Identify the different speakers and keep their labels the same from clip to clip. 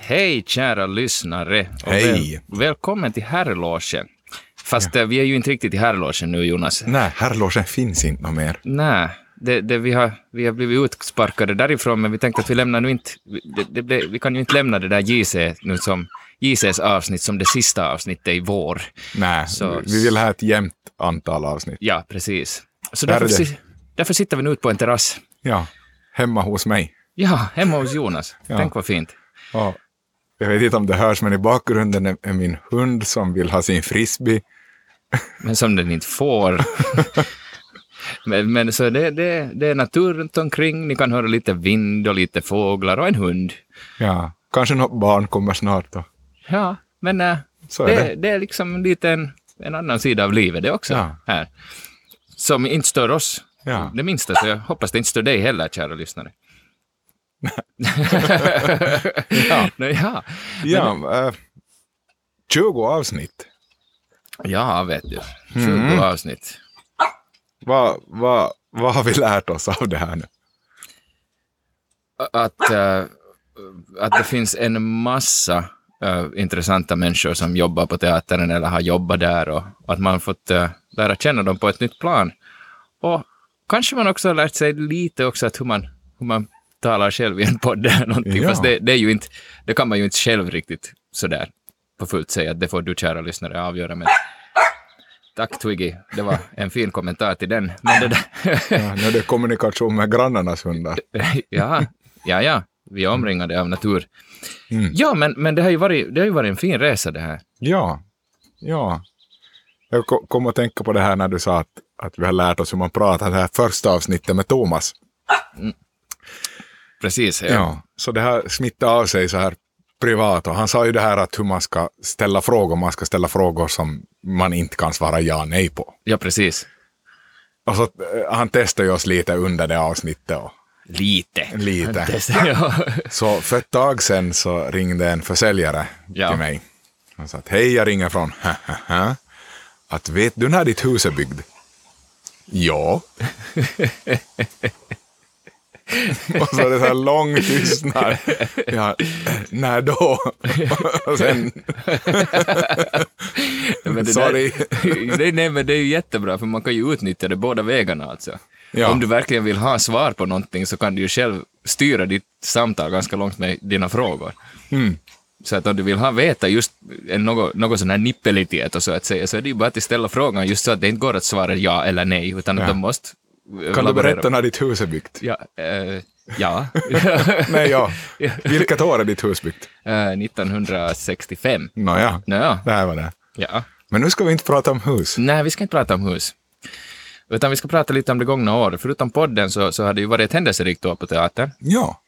Speaker 1: Hej kära lyssnare och
Speaker 2: Hej.
Speaker 1: väl- välkommen till herrlogen. Fast eh, vi är ju inte riktigt i herrlogen nu Jonas.
Speaker 2: Nej, herrlogen finns inte något mer.
Speaker 1: Nej, det, det, vi, har, vi har blivit utsparkade därifrån men vi tänkte att vi lämnar nu inte, det, det, blev- vi kan ju inte lämna det där JC nu som JCs avsnitt som det sista avsnittet i vår.
Speaker 2: Nej,
Speaker 1: Så-
Speaker 2: vi vill ha ett jämnt antal avsnitt.
Speaker 1: Ja, precis. Så
Speaker 2: Där är
Speaker 1: därför,
Speaker 2: det.
Speaker 1: si- därför sitter vi nu ute på en terrass.
Speaker 2: Ja, hemma hos mig.
Speaker 1: Ja, hemma hos Jonas.
Speaker 2: Ja.
Speaker 1: Tänk vad fint.
Speaker 2: Ja. Jag vet inte om det hörs, men i bakgrunden är är min hund som vill ha sin frisbee.
Speaker 1: men som den inte får. men, men så det, det, det är natur runt omkring, ni kan höra lite vind och lite fåglar och en hund.
Speaker 2: Ja, kanske något barn kommer snart då.
Speaker 1: Ja, men äh,
Speaker 2: Så
Speaker 1: det,
Speaker 2: är
Speaker 1: det.
Speaker 2: det.
Speaker 1: är liksom lite en, en annan sida av livet det också.
Speaker 2: Ja.
Speaker 1: Här. Som inte stör oss
Speaker 2: Ja.
Speaker 1: det minsta, så jag hoppas det inte stör dig heller, kära lyssnare. ja. ja.
Speaker 2: Ja, eh, 20 avsnitt.
Speaker 1: ja, vet du. 20
Speaker 2: Mm.
Speaker 1: avsnitt.
Speaker 2: Vad, vad, vad har vi lärt oss av det här nu?
Speaker 1: att, eh, att det finns en massa eh, intressanta människor som jobbar på teatern eller har jobbat där och, och att man har fått eh, lära känna dem på ett nytt plan. Och kanske man också har lärt sig lite också att hur man, hur man talar själv i en podd eller någonting.
Speaker 2: Ja.
Speaker 1: Fast det, det, är ju inte, det kan man ju inte själv riktigt sådär på fullt säga att det får du kära lyssnare avgöra. Men tack Twiggy, det var en fin kommentar till den. Men det där...
Speaker 2: Ja, nu är det kommunikation med grannarnas hundar.
Speaker 1: ja, ja, ja. Vi är
Speaker 2: Mm.
Speaker 1: omringade av natur. Ja, men, men det, har ju varit, det har ju varit en fin resa det här.
Speaker 2: Ja, ja. Jag ko- kom att tänka på det här när du sa att, att vi har lärt oss hur man pratar, det här första avsnittet med Thomas.
Speaker 1: Precis. Ja.
Speaker 2: Så det här smittade av sig så här privat och han sa ju det här att hur man ska ställa frågor, man ska ställa frågor som man inte kan svara ja nej på.
Speaker 1: ja, precis.
Speaker 2: Och så, eh, han testade ju oss lite under det avsnittet. Och,
Speaker 1: Lite.
Speaker 2: Lite.
Speaker 1: Ja.
Speaker 2: så för ett tag sedan så ringde en försäljare
Speaker 1: Ja.
Speaker 2: till mig. Han sa att hej, jag ringer från att vet du när ditt hus är byggd? Ja. och så är det så här lång tystnad. Ja, när då? och sen,
Speaker 1: Men det
Speaker 2: Sorry.
Speaker 1: Där, nej, nej, men det är ju jättebra, för man kan ju utnyttja det båda vägarna alltså.
Speaker 2: Ja.
Speaker 1: Om du verkligen vill ha svar på någonting så kan du ju själv styra ditt samtal ganska långt med dina frågor.
Speaker 2: "Hmm,
Speaker 1: Så att om du vill ha veta just en något, något sån här nippelitet och så att säga, så är det ju bara att ställa frågan just så att det inte går att svara ja eller nej, utan att
Speaker 2: Ja.
Speaker 1: de måste... eh,
Speaker 2: kan du
Speaker 1: laborera.
Speaker 2: berätta när ditt hus är byggt?
Speaker 1: Ja. eh, ja.
Speaker 2: Nej, ja. Vilket år är ditt hus byggt?
Speaker 1: Eh, 1965.
Speaker 2: Nåja,
Speaker 1: Nåja.
Speaker 2: det här var det.
Speaker 1: Ja.
Speaker 2: Men nu ska vi inte prata om hus.
Speaker 1: Nej, vi ska inte prata om hus. Utan vi ska prata lite om det gångna året. Förutom podden så, så har det ju varit ett händelserikt år på teatern.
Speaker 2: Ja.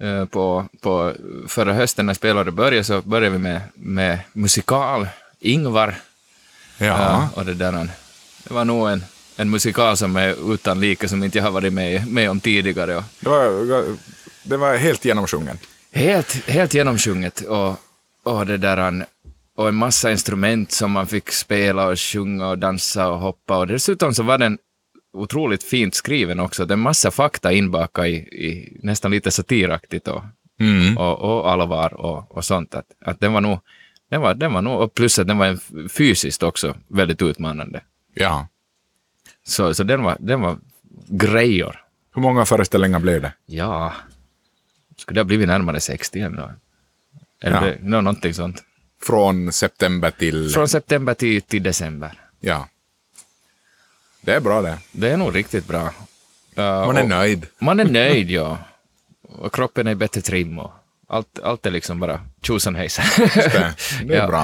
Speaker 1: Eh, På, på förra hösten när spelåret började så började vi med, med musikal, Ingvar.
Speaker 2: Ja.
Speaker 1: Eh, Och det, där, det var nog en, en musikal som är utan like, som inte jag har varit med, med om tidigare. Och
Speaker 2: Det var, det var helt genomsjungen.
Speaker 1: Helt, helt genomsjunget och, och det där han, och en massa instrument som man fick spela och sjunga och dansa och hoppa och dessutom så var den otroligt fint skriven också. Det är en massa fakta inbakad i, i nästan lite satiraktigt och,
Speaker 2: Mm.
Speaker 1: och, och allvar och, och sånt. Att, att den var nog, den var, den var nog, och plus att den var en f- fysiskt också väldigt utmanande.
Speaker 2: Ja.
Speaker 1: Så, så den, var, den var grejer.
Speaker 2: Hur många föreställningar blev det?
Speaker 1: Ja, skulle det ha blivit närmare 60 ändå?
Speaker 2: Ja.
Speaker 1: Eller det- nå- någonting sånt.
Speaker 2: Från september till...
Speaker 1: Från september till, till december.
Speaker 2: Ja. Det är bra det.
Speaker 1: Det är nog riktigt bra. Uh,
Speaker 2: Man är
Speaker 1: och-
Speaker 2: nöjd.
Speaker 1: Man är nöjd, ja. Och kroppen är i bättre trim och allt, allt är liksom bara tjosan hejsan.
Speaker 2: Det, det är
Speaker 1: Ja.
Speaker 2: bra.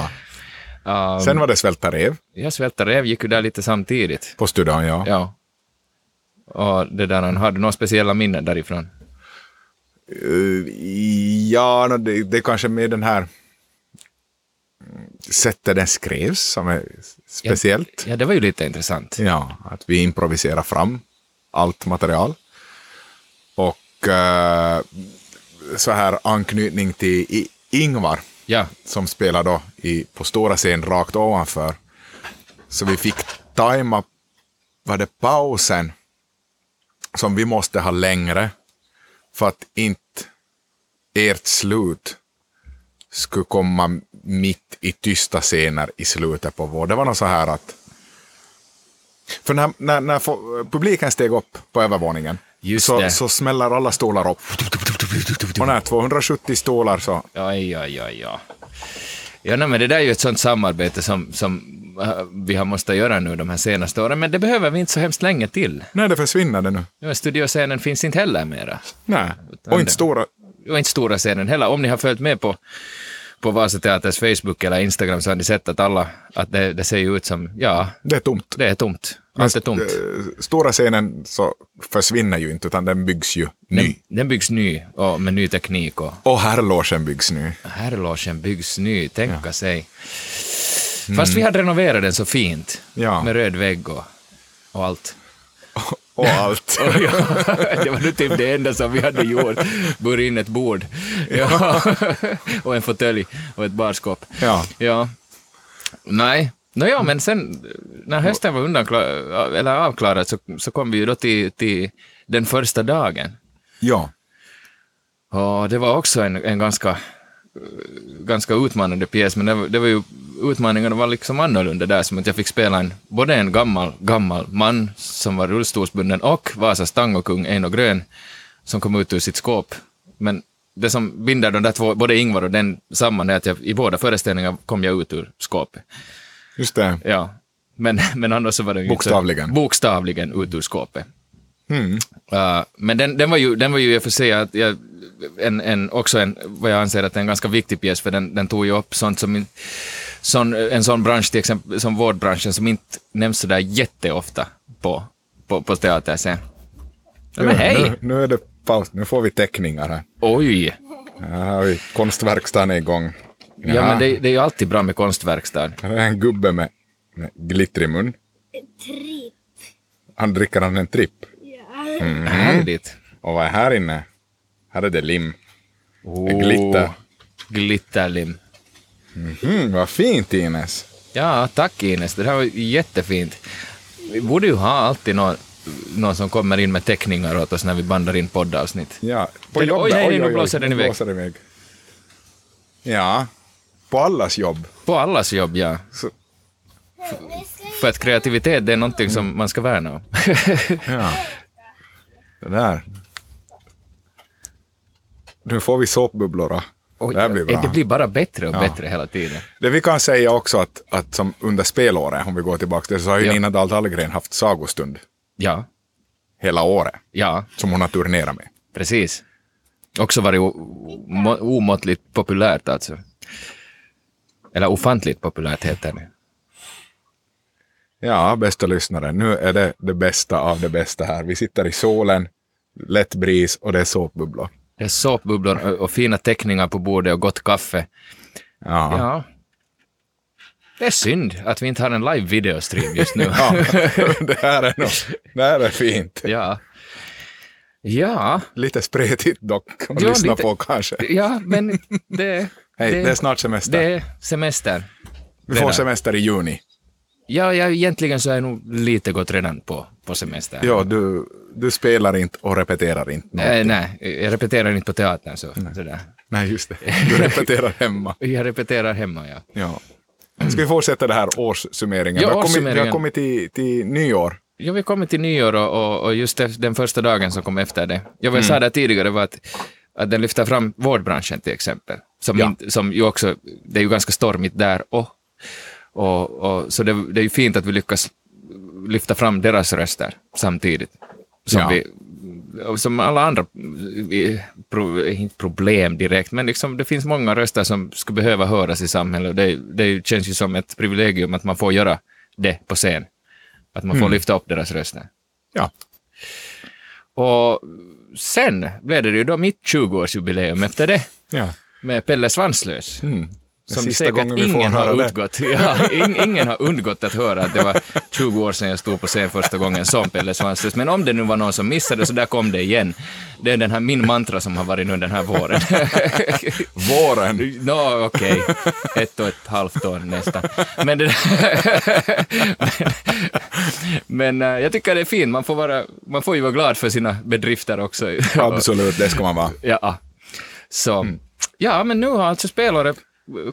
Speaker 1: Uh,
Speaker 2: Sen var det Svälta rev
Speaker 1: jag svälter räv, gick ju där lite samtidigt.
Speaker 2: på Studion, ja.
Speaker 1: Ja. Och det där, har du några speciella minnen därifrån?
Speaker 2: Eh, Ja, nå, det, det är kanske med den här mm, sättet den skrevs som är speciellt.
Speaker 1: Ja, det var ju lite intressant.
Speaker 2: Ja, att vi improviserar fram allt material. Och eh, så här anknytning till I- Ingvar.
Speaker 1: Ja,
Speaker 2: som spelar då i, på stora scen rakt ovanför. Så vi fick tajma, var det pausen som vi måste ha längre för att inte ert slut skulle komma mitt i tysta scener i slutet på vår. Det var något så här att... För när, när, när fo- publiken steg upp på övervåningen
Speaker 1: Just
Speaker 2: så,
Speaker 1: det.
Speaker 2: så smäller alla stolar upp. Och när 270 stolar så...
Speaker 1: Ja, ja, ja, ja. Ja, nej, men det där är ju ett sånt samarbete som, som eh, vi har måste göra nu de här senaste åren, men det behöver vi inte så hemskt länge till.
Speaker 2: Nej, det försvinner det nu.
Speaker 1: Nu är studioscenen finns inte heller mera.
Speaker 2: Nej. Och inte
Speaker 1: det-
Speaker 2: stora...
Speaker 1: och inte stora scenen heller. Om ni har följt med på, på Vasateaters Facebook eller Instagram så har ni sett att alla, att det, det ser ju ut som, ja,
Speaker 2: Det är tomt.
Speaker 1: det är tomt. Allt är tomt.
Speaker 2: Eh, Stora scenen så försvinner ju inte, utan den byggs ju ny.
Speaker 1: Den byggs ny, och med ny teknik och
Speaker 2: Och herrlogen byggs ny.
Speaker 1: herrlogen byggs ny, tänka sig. Fast vi hade renoverat den så fint,
Speaker 2: Ja.
Speaker 1: med röd vägg och, och allt.
Speaker 2: Och allt.
Speaker 1: Ja, det var nu typ det enda som vi hade gjort. Bura in ett bord. Ja. och en fåtölj och ett barskåp.
Speaker 2: Ja.
Speaker 1: ja. Nej. Nåja, men sen när hösten var undanklar- eller avklarad så, så kom vi ju då till, till den första dagen.
Speaker 2: ja.
Speaker 1: Och det var också en, en ganska, eh, ganska utmanande pjäs, men det var, det var ju, utmaningarna var liksom annorlunda där, som att jag fick spela en, både en gammal, gammal man som var rullstolsbunden och Vasas tangokung Eino Grön, som kom ut ur sitt skåp. Men det som binder de där två, både Ingvar och den samman, är att jag, i båda föreställningar kom jag ut ur skåpet.
Speaker 2: Just det.
Speaker 1: Ja. Men, men annars så var det ju inte så-
Speaker 2: Bokstavligen.
Speaker 1: Bokstavligen ut ur skåpet.
Speaker 2: Mm.
Speaker 1: Uh, men den, den var ju, den var ju i och för sig att jag, en, en, också en, vad jag anser att en ganska viktig pjäs, för den, den tog ju upp sånt som, in- sån, en sån bransch till exempel, som vårdbranschen, som inte nämns sådär jätteofta på, på, på teaterscen. Ja, men hej!
Speaker 2: Nu, nu är det paus. Nu får vi teckningar här.
Speaker 1: Oj!
Speaker 2: Här har vi konstverkstaden är igång.
Speaker 1: Ja, men det, det är ju alltid bra med konstverkstad.
Speaker 2: Här är en gubbe med, med glitter i mun.
Speaker 3: Tripp.
Speaker 2: Han dricker han en tripp.
Speaker 3: Ja.
Speaker 2: Mm.
Speaker 1: Härligt!
Speaker 2: Och vad är här inne? Här är det lim. Glitter.
Speaker 1: Åh, Glitterlim.
Speaker 2: Mhm, vad fint Ines.
Speaker 1: Ja, tack Ines. Det här var jättefint. Vi borde ju ha alltid någon, någon som kommer in med teckningar åt oss när vi bandar in poddavsnitt.
Speaker 2: Ja, på
Speaker 1: Men-
Speaker 2: jobbet.
Speaker 1: oj, hej, nu blåser den
Speaker 2: nu
Speaker 1: iväg.
Speaker 2: blåser den iväg. Ja, på allas jobb.
Speaker 1: På allas jobb, ja.
Speaker 2: Så,
Speaker 1: För att kreativitet det är någonting som man ska värna om.
Speaker 2: ja. Det där. Nu får vi såpbubblor. då. det här blir bra.
Speaker 1: det blir bara bättre och bättre hela tiden.
Speaker 2: Det vi kan säga också att, att som under spelåret, om vi går tillbaka till det, så har ju
Speaker 1: Ja.
Speaker 2: Nina Dahl Hallgren haft sagostund
Speaker 1: Ja,
Speaker 2: hela året,
Speaker 1: ja,
Speaker 2: som hon har turnerat med.
Speaker 1: precis. Också varit o- må- omåttligt populärt alltså. Eller ofantligt populärt heter det.
Speaker 2: Ja, bästa lyssnare, nu är det det bästa av det bästa här. Vi sitter i solen, lätt bris och det är såpbubblor.
Speaker 1: Det är såpbubblor och, och fina teckningar på bordet och gott kaffe.
Speaker 2: Ja.
Speaker 1: Ja. Det är synd att vi inte har en live-videostream just nu.
Speaker 2: Ja, det här är nog, det här är fint.
Speaker 1: ja. Ja.
Speaker 2: Lite spretigt dock att
Speaker 1: Ja,
Speaker 2: lyssna
Speaker 1: lite.
Speaker 2: på kanske.
Speaker 1: Ja, men det...
Speaker 2: Hej, det, är snart semester.
Speaker 1: det är semester.
Speaker 2: vi får
Speaker 1: redan.
Speaker 2: semester i juni.
Speaker 1: Ja, ja, egentligen så är jag nog lite gått redan på, på semester.
Speaker 2: Ja, du, du spelar inte och repeterar inte.
Speaker 1: Eh, nej, jag repeterar inte på teatern så. Sådär.
Speaker 2: Nej, just det. Du repeterar hemma.
Speaker 1: Jag repeterar hemma, ja.
Speaker 2: Ja. Ska vi fortsätta det här årssummeringen?
Speaker 1: Ja,
Speaker 2: vi har kommit, vi
Speaker 1: årssummeringen.
Speaker 2: har kommit till, till nyår.
Speaker 1: Ja, vi kommer till nyår och, och, och just det- den första dagen som kom efter det. Jag mm. sa där tidigare var att, att den lyfter fram vårdbranschen till exempel. Som,
Speaker 2: Ja.
Speaker 1: inte, som ju också, det är ju ganska stormigt där och, och, och så det, det är ju fint att vi lyckas lyfta fram deras röster samtidigt. Som,
Speaker 2: Ja.
Speaker 1: vi, som alla andra eh, pro, inte problem direkt, men liksom, det finns många röster som skulle behöva höras i samhället. Och det, det känns ju som ett privilegium att man får göra det på scen. Att man får lyfta upp deras röster.
Speaker 2: Ja.
Speaker 1: Och sen blev det ju då mitt 20-årsjubileum efter det,
Speaker 2: ja.
Speaker 1: med Pelle Svanslös.
Speaker 2: Mm.
Speaker 1: Som
Speaker 2: Sista
Speaker 1: säkert
Speaker 2: gången vi får
Speaker 1: ingen
Speaker 2: höra
Speaker 1: har,
Speaker 2: det.
Speaker 1: utgått, ja, in, ingen har undgått att höra att det var 20 år sedan jag stod på scen första gången som Pelle Svanslös. Men om det nu var någon som missade så där kom det igen. Det är den här, min mantra som har varit nu den här våren.
Speaker 2: Våren.
Speaker 1: Nå, okej. Ett och ett halvt år nästan. Men, det, men eh, jag tycker det är fint. Man får, vara, man får ju vara glad för sina bedrifter också.
Speaker 2: Absolut, det ska man vara.
Speaker 1: Ja. Så, Ja, men nu har alltså spelåret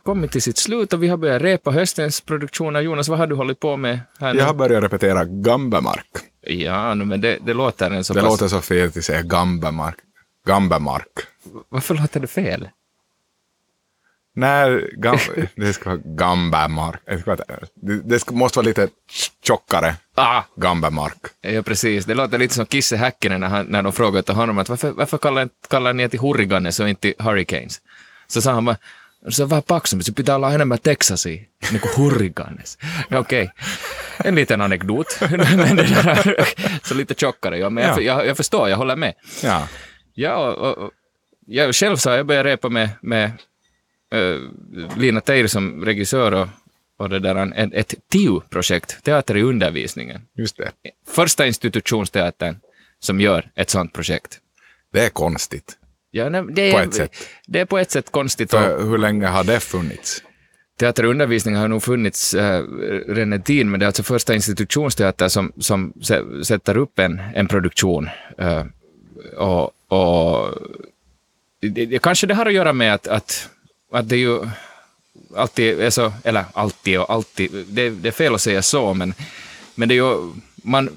Speaker 1: kommit till sitt slut och vi har börjat repa höstens produktioner. Jonas, vad har du hållit på med här nu?
Speaker 2: Jag har börjat repetera Gambemark.
Speaker 1: Ja, nu, men det, det låter en så
Speaker 2: Det
Speaker 1: pass...
Speaker 2: låter så fel att säga Gambemark. Gambemark.
Speaker 1: Varför låter det fel?
Speaker 2: Nej, gam... det ska vara Gambemark. Det, ska vara... det, det ska, måste vara lite tjockare.
Speaker 1: Ah,
Speaker 2: Gambemark.
Speaker 1: ja, precis. Det låter lite som Kisse Häkkinen när, han, när de frågade till honom att varför, varför kallar, kallar ni er till Hurricanes och inte till Hurricanes? Så sa han bara, se on vähän paksumpi, se pitää olla enemmän Texasia, niin kuin Hurricanes. Ja Okej, en liten anekdot. men det där, så lite tjockare, ja, men jag,
Speaker 2: Ja.
Speaker 1: jag, jag förstår, jag håller med.
Speaker 2: Ja.
Speaker 1: Ja, och, och, jag själv så har jag börjat repa med, med eh, Lina Teir som regissör och, och det där, en, ett TIU-projekt, Teater i undervisningen.
Speaker 2: Just det.
Speaker 1: Första institutionsteatern som gör ett sånt projekt.
Speaker 2: Det är konstigt.
Speaker 1: Ja, nej, det, är,
Speaker 2: På ett sätt.
Speaker 1: det är på ett sätt konstigt. Och
Speaker 2: För hur länge har det funnits?
Speaker 1: teater och undervisning har nog funnits äh, redan en tid, men det är alltså första institutionsteater som, som sä- sätter upp en, en produktion. eh, och, och det, det, kanske det har att göra med att, att, att det ju alltid är så, eller alltid och alltid, det, det är fel att säga så, men, men det är ju, man,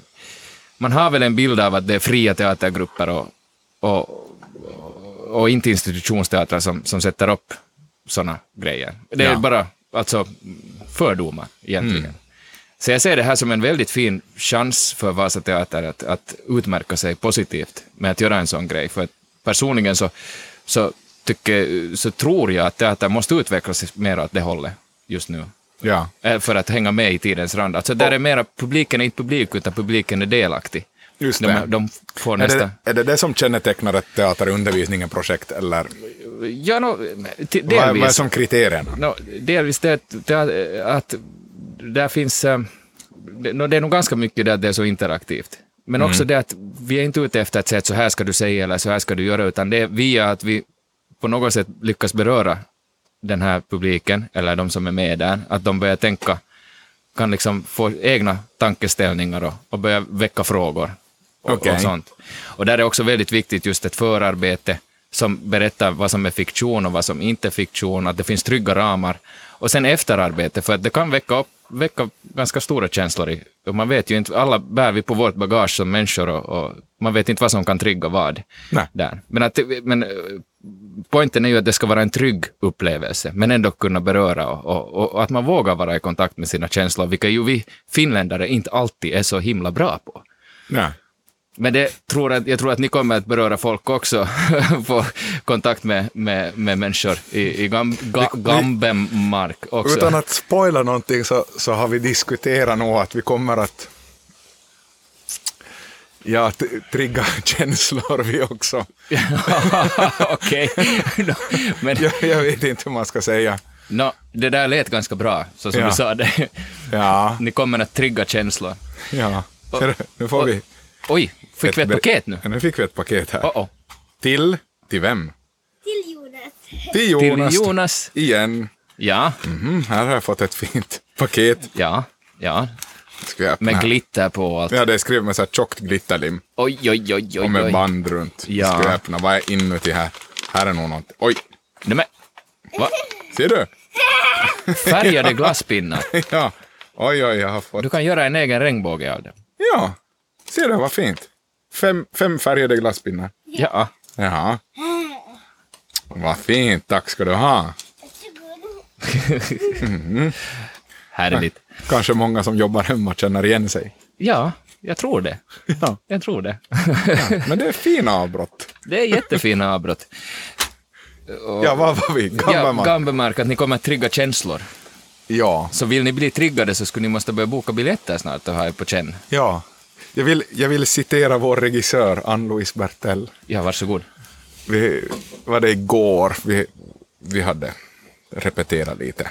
Speaker 1: man har väl en bild av att det är fria teatergrupper och, och, och inte institutionsteatrar som, som sätter upp sådana grejer. Det är
Speaker 2: Ja. Mm.
Speaker 1: bara alltså, fördomar egentligen. Så jag ser det här som en väldigt fin chans för Vasa Teater att, att utmärka sig positivt med att göra en sån grej. För att personligen så, så, tycker, så tror jag att teater måste utvecklas mer åt det hållet just nu.
Speaker 2: Ja.
Speaker 1: Eh, För att hänga med i tidens rand. Alltså där är mera, publiken är inte publik, utan publiken är delaktig.
Speaker 2: Just
Speaker 1: de,
Speaker 2: det.
Speaker 1: de får
Speaker 2: Är
Speaker 1: nästa...
Speaker 2: det, är det det som kännetecknar ett teaterundervisningen-projekt eller
Speaker 1: Ja, no, t- delvis.
Speaker 2: vad, vad är som kriterierna?
Speaker 1: Nå, delvis det, att- det att- att där finns... eh, Det, nå, det är nog ganska mycket det att det är så interaktivt. Men också det att vi är inte ute efter att säga att så här ska du säga eller så här ska du göra, utan det är via att vi på något sätt lyckas beröra den här publiken, eller de som är med där, att de börjar tänka, kan liksom få egna tankeställningar och, och börja väcka frågor. Och, och
Speaker 2: Okej.
Speaker 1: sånt. Och där är också väldigt viktigt just ett förarbete som berättar vad som är fiktion och vad som inte är fiktion, att det finns trygga ramar. Och sen efterarbete, för att det kan väcka, upp, väcka ganska stora känslor. I, och man vet ju inte, alla bär vi på vårt bagage som människor och, och man vet inte vad som kan trigga vad.
Speaker 2: Nej.
Speaker 1: Där. Men, att, det- men eh, poängen är ju att det ska vara en trygg upplevelse, men ändå kunna beröra och, och, och, och att man vågar vara i kontakt med sina känslor, vilket ju vi finländare inte alltid är så himla bra på.
Speaker 2: Ja.
Speaker 1: Men det tror att, jag tror att ni kommer att beröra folk också, få kontakt med, med, med människor i, i gam, ga, Gambenmark också.
Speaker 2: Utan att spoila någonting så, så har vi diskuterat nog att vi kommer att ja, t- trigga känslor vi också.
Speaker 1: Okej. Nå, Men
Speaker 2: Jag, jag vet inte hur man ska säga.
Speaker 1: nå, det där lät ganska bra, så som
Speaker 2: Ja.
Speaker 1: du sa det.
Speaker 2: Ja,
Speaker 1: Ni kommer att trigga känslor.
Speaker 2: ja. Ser du, nu får vi...
Speaker 1: Oj, fick vi ett paket nu?
Speaker 2: Ja, nu fick vi ett paket här.
Speaker 1: Oh -oh.
Speaker 2: Till? Till vem?
Speaker 3: Till Jonas.
Speaker 2: Till Jonas.
Speaker 1: Till Jonas.
Speaker 2: Igen.
Speaker 1: Ja,
Speaker 2: Mhm, här har jag fått ett fint paket.
Speaker 1: ja, ja.
Speaker 2: Ska jag öppna
Speaker 1: Med
Speaker 2: här?
Speaker 1: glitter på och allt.
Speaker 2: Ja, det är skrivet med så här tjockt glitterlim.
Speaker 1: Oj, oj, oj,
Speaker 2: Och
Speaker 1: oj.
Speaker 2: med
Speaker 1: oj.
Speaker 2: band runt.
Speaker 1: Ja.
Speaker 2: Ska jag öppna? Vad är inuti här? Här är nog något. Oj!
Speaker 1: Nej, men, va?
Speaker 2: Ser du?
Speaker 1: Färgade glasspinnar.
Speaker 2: Ja. Oj, oj, jag har fått.
Speaker 1: Du kan göra en egen regnbåge av det.
Speaker 2: Ja. Ser du, vad fint. Fem, fem färgade glasspinnar.
Speaker 1: Ja.
Speaker 2: Jaha. Vad fint. Tack ska du ha.
Speaker 3: Varsågod.
Speaker 1: Härligt.
Speaker 2: Kanske många som jobbar hemma känner igen sig.
Speaker 1: Ja, jag tror det.
Speaker 2: Ja.
Speaker 1: Jag tror det.
Speaker 2: Men det är fina avbrott.
Speaker 1: Det är jättefina avbrott.
Speaker 2: Ja, vad var vi?
Speaker 1: Ja,
Speaker 2: Gammalman. Ja,
Speaker 1: Gambemärk att ni kommer att trigga känslor.
Speaker 2: ja.
Speaker 1: Så vill ni bli triggade så skulle ni måste börja boka biljetter snart och ha er på känn.
Speaker 2: ja. Jag, vill, jag vill citera vår regissör Ann-Louise Bertell.
Speaker 1: Ja, varsågod.
Speaker 2: vi var det igår, vi, vi hade repeterat lite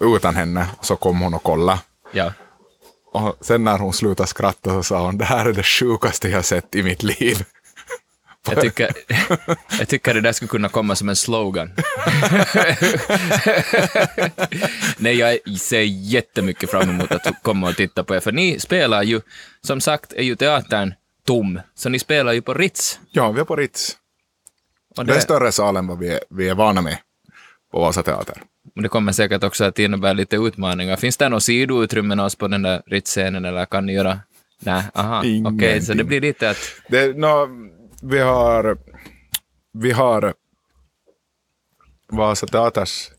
Speaker 2: utan henne, så kom hon och kollade.
Speaker 1: Ja.
Speaker 2: Och sen när hon slutade skratta så sa hon, det här är det sjukaste jag sett i mitt liv.
Speaker 1: Jag tycker, jag tycker det där skulle kunna komma som en slogan. Nej, jag ser jättemycket fram emot att komma och titta på er, för ni spelar ju, som sagt är ju teatern tom, så ni spelar ju på Ritz.
Speaker 2: Ja, vi är på Ritz.
Speaker 1: Och
Speaker 2: Det är
Speaker 1: det,
Speaker 2: större sal än vad vi är, vi är vana med på Vasa Teater.
Speaker 1: och det kommer säkert också att innebära lite utmaningar. Finns det några sidoutrymmen alls på den där rittscenen eller kan ni göra? Nej, aha, okej,
Speaker 2: Ingenting.
Speaker 1: så det blir lite att...
Speaker 2: Det, är nå- vi har... Vi har Vasa Teaters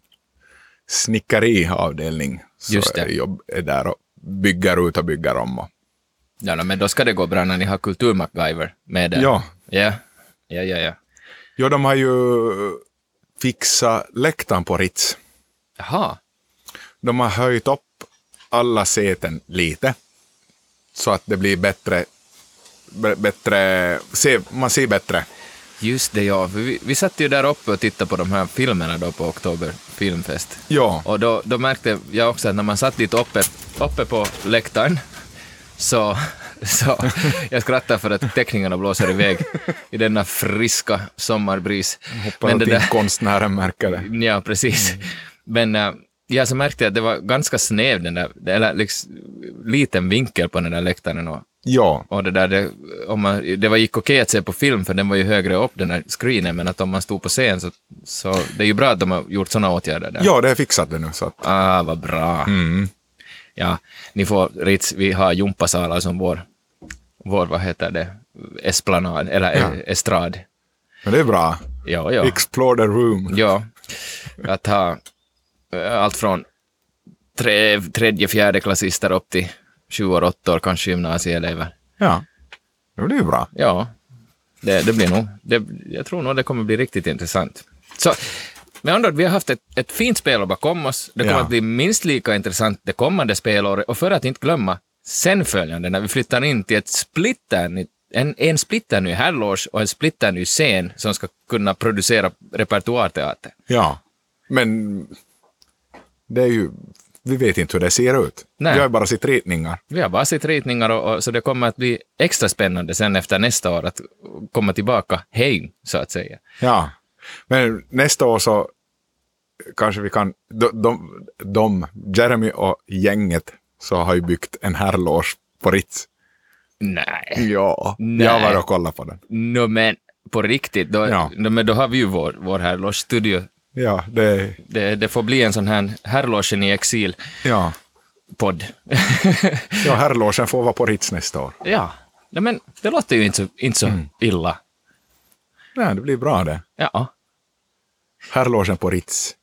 Speaker 2: snickeriavdelning. Så
Speaker 1: Just det.
Speaker 2: är Jobb är där och bygger ut och bygger om. Och,
Speaker 1: Ja, no, men då ska det gå bra när ni har kultur-MacGyver med det.
Speaker 2: Ja.
Speaker 1: Ja, ja, ja. ja.
Speaker 2: ja, de har ju fixat läktaren på Ritz.
Speaker 1: Jaha,
Speaker 2: De har höjt upp alla säten lite. Så att det blir bättre... b- bättre se, man ser bättre.
Speaker 1: just det ja. För vi, vi satt ju där uppe och tittade på de här filmerna då på Oktober Filmfest.
Speaker 2: Ja.
Speaker 1: Och då, då märkte jag också att när man satt dit uppe, uppe på läktaren så, så jag skrattar för att teckningarna blåser iväg i denna friska sommarbris.
Speaker 2: Hoppas att inte konstnären märker det.
Speaker 1: Ja, precis. Men eh, jag så märkte jag att det var ganska snäv den där, eller liksom, liten vinkel på den där läktaren. Och,
Speaker 2: Ja.
Speaker 1: och det, där, det, om man, det var, gick okej att se på film, för den var ju högre upp, den där screenen, men att om man stod på scen så, så det är ju bra att de har gjort sådana åtgärder där.
Speaker 2: Ja, det är fixat det nu. Så att,
Speaker 1: Ah, vad bra. Ja, ni får, Ritz, vi har jumpasalar som vår, vår, vad heter det, esplanad, eller e- estrad.
Speaker 2: men det är bra.
Speaker 1: Ja, ja.
Speaker 2: Explore the room.
Speaker 1: Ja, att ha eh, allt från tre, tredje, fjärde klassister upp till sju år, åtta år, kanske gymnasieelever.
Speaker 2: Ja. Det blir ju bra.
Speaker 1: Ja, det, det blir nog. Det, jag tror nog det kommer bli riktigt intressant. Så med andra ord, vi har haft ett, ett fint spelår bakom oss. Det kommer
Speaker 2: Ja.
Speaker 1: att bli minst lika intressant det kommande spelåret. Och för att inte glömma, sen följande, när vi flyttar in till ett splitternytt en, en splitterny herrloge och en splitterny scen som ska kunna producera repertoarteater.
Speaker 2: Ja. Men det är ju... Vi vet inte hur det ser ut.
Speaker 1: Nej.
Speaker 2: Vi har ju bara sett ritningar.
Speaker 1: Vi har bara sett ritningar, och, och, så det kommer att bli extra spännande sen efter nästa år att komma tillbaka hem, så att säga.
Speaker 2: Ja. Men nästa år så kanske vi kan... De, de, de Jeremy och gänget, så har ju byggt en herrloge på Ritz.
Speaker 1: Nej,
Speaker 2: Ja.
Speaker 1: Nej.
Speaker 2: Jag var och kollade på den.
Speaker 1: no, men på riktigt, då,
Speaker 2: Ja.
Speaker 1: no, men då har vi ju vår, vår herrloge-studio.
Speaker 2: Ja, det...
Speaker 1: Det, det får bli en sån här herrlogen i exil-podd.
Speaker 2: Ja. Ja, herrlogen får vara på Ritz nästa år.
Speaker 1: ja, no, men det låter ju inte så, inte så
Speaker 2: Mm.
Speaker 1: illa.
Speaker 2: Nej, det blir bra det.
Speaker 1: Ja,
Speaker 2: Herrlogen på Ritz.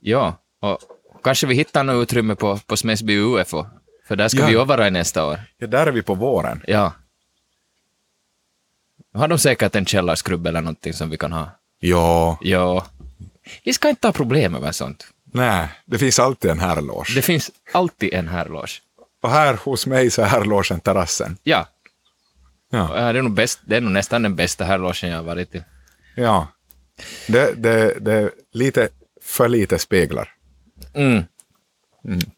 Speaker 1: ja. Och kanske vi hittar något utrymme på, på Smedsby UFO, för där ska
Speaker 2: Ja.
Speaker 1: vi öva nästa år.
Speaker 2: Ja, där är vi på våren.
Speaker 1: Ja. Har de säkert en källarskrubb eller någonting som vi kan ha?
Speaker 2: Ja,
Speaker 1: Ja. Vi ska inte ha problem med sånt.
Speaker 2: nej, det finns alltid en herrloge.
Speaker 1: Det finns alltid en herrloge.
Speaker 2: Och här hos mig så är herrlogen terrassen.
Speaker 1: Ja,
Speaker 2: Ja,
Speaker 1: det är nog, bäst, det är nog nästan den bästa herrlogen jag har varit i.
Speaker 2: ja. Det, det, det är lite för lite speglar.
Speaker 1: Mm.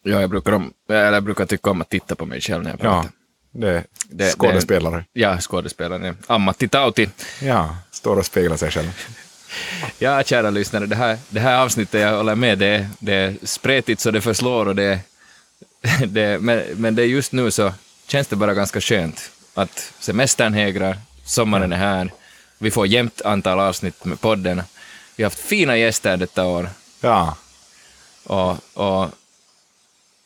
Speaker 1: Ja, jag brukar, om, eller jag brukar tycka om att titta på mig själv när jag pratar.
Speaker 2: Ja, det
Speaker 1: Det-
Speaker 2: är skådespelare.
Speaker 1: Ja, skådespelaren. Ammatti Tauti.
Speaker 2: Ja, står och speglar sig själv.
Speaker 1: Ja, kära lyssnare, det här, det här avsnittet, jag håller med, det är, det är spretigt så det förslår och det, är- det är- men, men det är just nu så känns det bara ganska skönt att semestern hägrar, sommaren är här, vi får jämnt antal avsnitt med podden. Vi har haft fina gäster detta år
Speaker 2: Ja,
Speaker 1: och, och,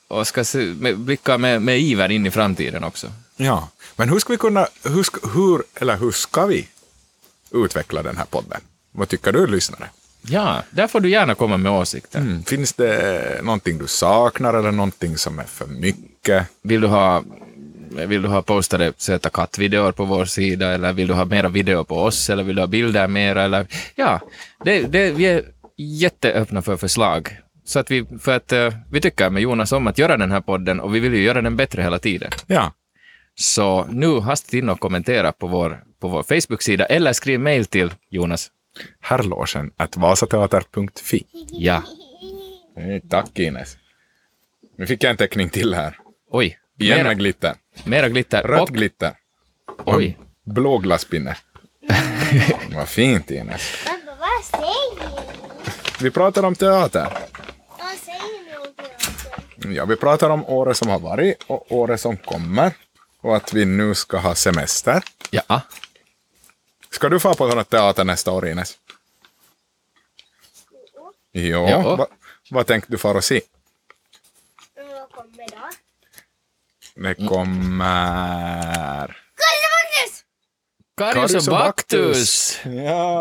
Speaker 1: och ska se, med, blicka med, med iver in i framtiden också.
Speaker 2: ja. Men hur ska vi kunna, hur, ska- hur, eller hur ska vi utveckla den här podden? Vad tycker du lyssnare?
Speaker 1: Ja, där får du gärna komma med åsikter.
Speaker 2: Mm. Finns det någonting du saknar eller någonting som är för mycket?
Speaker 1: Vill du ha, vill du ha postade söta kattvideor på vår sida eller vill du ha mera video på oss eller vill du ha bilder mera eller ja, det, det, vi är jätteöppna för förslag. Så att vi, för att eh, vi tycker med Jonas om att göra den här podden och vi vill ju göra den bättre hela tiden.
Speaker 2: Ja,
Speaker 1: Så nu hastigt in och kommentera på vår, på vår Facebook-sida eller skriv mejl till Jonas.
Speaker 2: herrlogen att vasateater.fi.
Speaker 1: Ja,
Speaker 2: Nej, Tack Ines. Nu fick jag en teckning till här.
Speaker 1: oj,
Speaker 2: Igen
Speaker 1: mera,
Speaker 2: med glitter.
Speaker 1: mera glitter.
Speaker 2: Rött
Speaker 1: Och,
Speaker 2: glitter.
Speaker 1: oj,
Speaker 2: Blå glasspinne. Vad fint Ines.
Speaker 3: Pappa, vad säger du?
Speaker 2: Vi pratar om teater.
Speaker 3: Vad säger ni om teater?
Speaker 2: Ja, vi pratar om året som har varit och året som kommer. Och att vi nu ska ha semester.
Speaker 1: ja.
Speaker 2: Ska du få på någon teater nästa år Ines? Ja,
Speaker 1: Ja.
Speaker 2: Va, vad tänkte du fara och se?
Speaker 3: Men vad kommer då?
Speaker 2: Det
Speaker 1: Mm.
Speaker 2: kommer...
Speaker 3: Kolla Magnus!
Speaker 1: Karius och Baktus!
Speaker 2: Ja.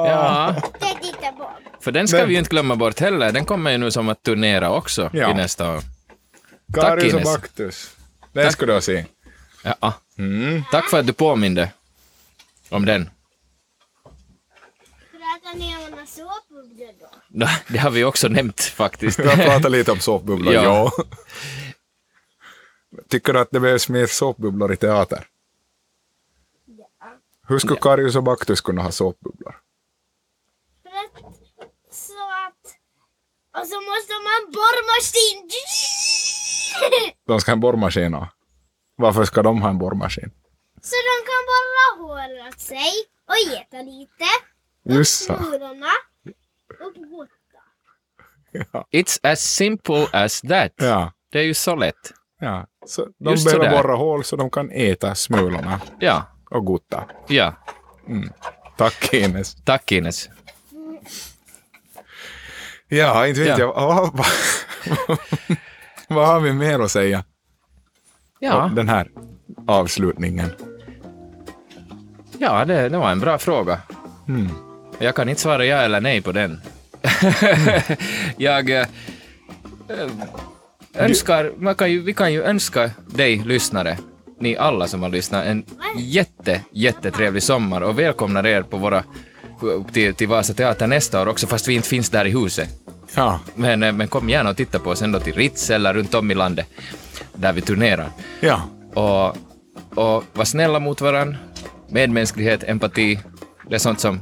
Speaker 1: Ja,
Speaker 3: Det tittar på.
Speaker 1: för den ska
Speaker 2: Den-
Speaker 1: vi ju inte glömma bort heller. Den kommer ju nu som att turnera också
Speaker 2: Ja.
Speaker 1: i nästa år.
Speaker 2: Karius och
Speaker 1: Ines.
Speaker 2: Baktus. Den ska du ha se. Mm.
Speaker 1: Ja. Tack för att du påminde om den.
Speaker 3: Pratar ni om några såpbubblor då?
Speaker 1: Det har vi också nämnt faktiskt.
Speaker 2: Vi har pratat lite om såpbubblor,
Speaker 1: Ja.
Speaker 2: ja. Tycker du att det behövs mer såpbubblor i teater? Hur skulle Karius och Baktus kunna ha såpbubblor?
Speaker 3: För att, så att... Och så måste man borrmaskin!
Speaker 2: De ska ha en borrmaskin. och- Varför ska de ha en borrmaskin?
Speaker 3: Så de kan borra håret åt sig och äta lite.
Speaker 2: Just så.
Speaker 3: Snororna. Och gotta.
Speaker 1: It's as simple as that.
Speaker 2: Ja,
Speaker 1: Det är ju så lätt.
Speaker 2: ja. Så de
Speaker 1: Just
Speaker 2: behöver
Speaker 1: sådär.
Speaker 2: borra hål så de kan äta smulorna
Speaker 1: Ja,
Speaker 2: och gotta.
Speaker 1: ja.
Speaker 2: Tack Ines.
Speaker 1: Tack Ines.
Speaker 2: Ja, inte
Speaker 1: Ja.
Speaker 2: vet jag. Vad- vad- Vad har vi mer att säga?
Speaker 1: Ja,
Speaker 2: om Den här avslutningen.
Speaker 1: ja det, det var en bra fråga.
Speaker 2: Mm.
Speaker 1: Jag kan inte svara ja eller nej på den. jag eh, eh, önskar, man kan ju, vi kan ju önska dig lyssnare, ni alla som har lyssnat, en jätte, jättetrevlig sommar och välkomnar er på våra, till, till Vasa Teater nästa år också, fast vi inte finns där i huset.
Speaker 2: Ja,
Speaker 1: Men, eh, men kom gärna och titta på oss ändå till Ritz eller runt om i landet där vi turnerar.
Speaker 2: ja.
Speaker 1: Och, och var snälla mot varandra. Medmänsklighet, empati, det är sånt som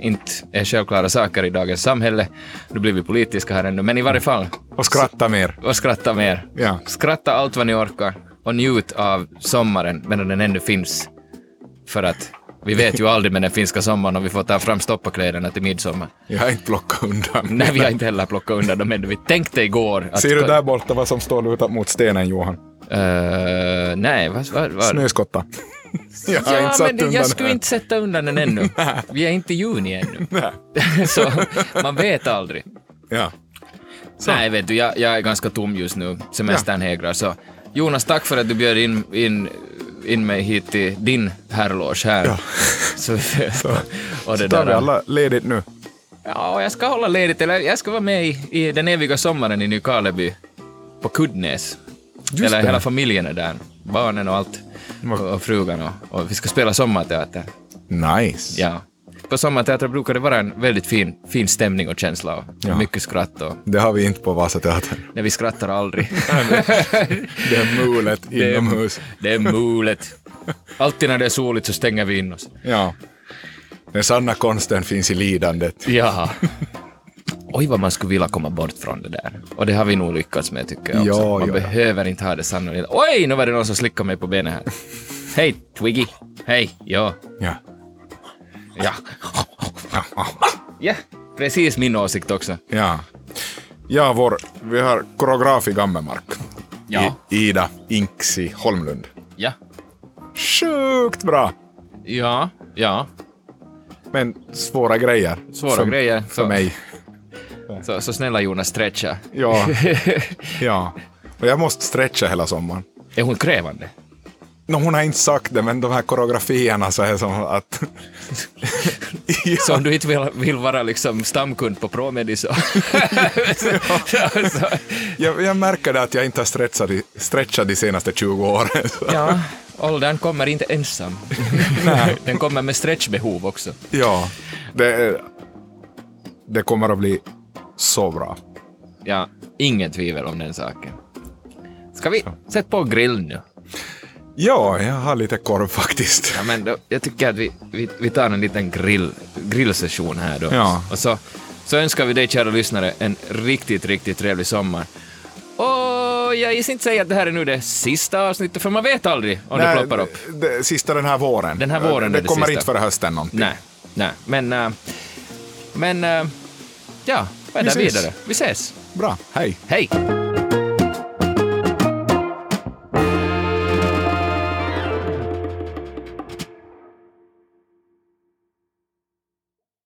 Speaker 1: inte är självklara saker i dagens samhälle. Nu blir vi politiska här ännu, men i varje fall,
Speaker 2: Och skratta mer.
Speaker 1: och skratta mer.
Speaker 2: Ja.
Speaker 1: Skratta allt vad ni orkar och njut av sommaren medan den ännu finns. För att vi vet ju aldrig med den finska sommaren om vi får ta fram stoppakläderna till midsommar.
Speaker 2: Jag har inte plockat undan.
Speaker 1: Nej, vi har inte heller plockat undan dem ännu. Vi tänkte igår att...
Speaker 2: Ser du där borta vad som står lutat mot stenen, Johan?
Speaker 1: Eh, nej, vad... vad, vad?
Speaker 2: Snöskotta. Jag har inte
Speaker 1: ja,
Speaker 2: satt
Speaker 1: men det-
Speaker 2: undan
Speaker 1: jag skulle
Speaker 2: den.
Speaker 1: inte sätta undan den ännu. Vi är inte i juni ännu.
Speaker 2: Nej.
Speaker 1: Så man vet aldrig.
Speaker 2: Ja.
Speaker 1: Nej, vet du, jag, jag är ganska tom just nu. Semestern hägrar. Så. Jonas, tack för att du bjöd in, in, in mig hit till din herrloge här.
Speaker 2: Ja.
Speaker 1: Så, och det
Speaker 2: Tar vi
Speaker 1: där.
Speaker 2: alla ledigt nu?
Speaker 1: Ja, och jag ska hålla ledigt, eller jag ska vara med i, i den eviga sommaren i Nykarleby på Kuddnäs.
Speaker 2: Just
Speaker 1: eller
Speaker 2: det.
Speaker 1: hela familjen är där. Barnen och allt.
Speaker 2: Vad-
Speaker 1: Och, och frugan. Och, och vi ska spela sommarteater.
Speaker 2: Nice.
Speaker 1: Ja. På sommarteatrar brukar det vara en väldigt fin, fin stämning och känsla och
Speaker 2: Ja.
Speaker 1: mycket skratt. Och,
Speaker 2: Det har vi inte på Vasateatern.
Speaker 1: nej, vi skrattar aldrig.
Speaker 2: Det är mulet
Speaker 1: Det är-
Speaker 2: inomhus.
Speaker 1: det är mulet. Alltid när det är soligt så stänger vi in oss.
Speaker 2: Ja. Den sanna konsten finns i lidandet.
Speaker 1: Ja. Oj, vad man skulle vilja komma bort från det där. Och det har vi nog lyckats med, tycker jag också.
Speaker 2: Ja,
Speaker 1: man
Speaker 2: ja, ja.
Speaker 1: behöver inte ha det sannolikt. Oj, nu var det någon som slickade mig på benet här. Hej, Twiggy. Hej, ja.
Speaker 2: Ja.
Speaker 1: Ja. Ja, precis min åsikt också.
Speaker 2: Ja. Ja, vår, vi har koreograf i Gammelmark.
Speaker 1: Ja.
Speaker 2: I, Ida Inksi Holmlund.
Speaker 1: Ja.
Speaker 2: Sjukt bra!
Speaker 1: Ja, ja.
Speaker 2: Men svåra grejer.
Speaker 1: Svåra
Speaker 2: Som-
Speaker 1: grejer.
Speaker 2: För mig.
Speaker 1: Så, så snälla Jonas, stretcha.
Speaker 2: Ja. ja. Och jag måste stretcha hela sommaren.
Speaker 1: Är hon krävande?
Speaker 2: No, hon har inte sagt det, men de här koreografierna så är som att...
Speaker 1: Så om du inte vill, vill vara liksom stamkund på Promedi så... så...
Speaker 2: jag, jag märker det att jag inte har stretchat, i- stretchat de senaste 20 åren. Så.
Speaker 1: Ja, åldern kommer inte ensam. Den kommer med stretchbehov också.
Speaker 2: ja. Det, är- det kommer att bli så bra.
Speaker 1: Ja, inget tvivel om den saken. Ska vi sätta på grill nu?
Speaker 2: Ja, jag har lite korv faktiskt.
Speaker 1: Ja, men då, jag tycker att vi, vi, vi tar en liten grill, grillsession här då.
Speaker 2: Ja.
Speaker 1: Och så, så önskar vi dig, kära lyssnare, en riktigt, riktigt trevlig sommar. Och jag gissar inte säga att det här är nu det sista avsnittet, för man vet aldrig om det ploppar upp.
Speaker 2: d- d- sista den här våren.
Speaker 1: Den här våren
Speaker 2: Det,
Speaker 1: är det
Speaker 2: kommer
Speaker 1: sista.
Speaker 2: inte före hösten någonting.
Speaker 1: Nej, nej, men... äh, men... äh, ja, vad är
Speaker 2: Vi
Speaker 1: där
Speaker 2: ses.
Speaker 1: vidare? Vi ses.
Speaker 2: Bra, hej.
Speaker 1: Hej!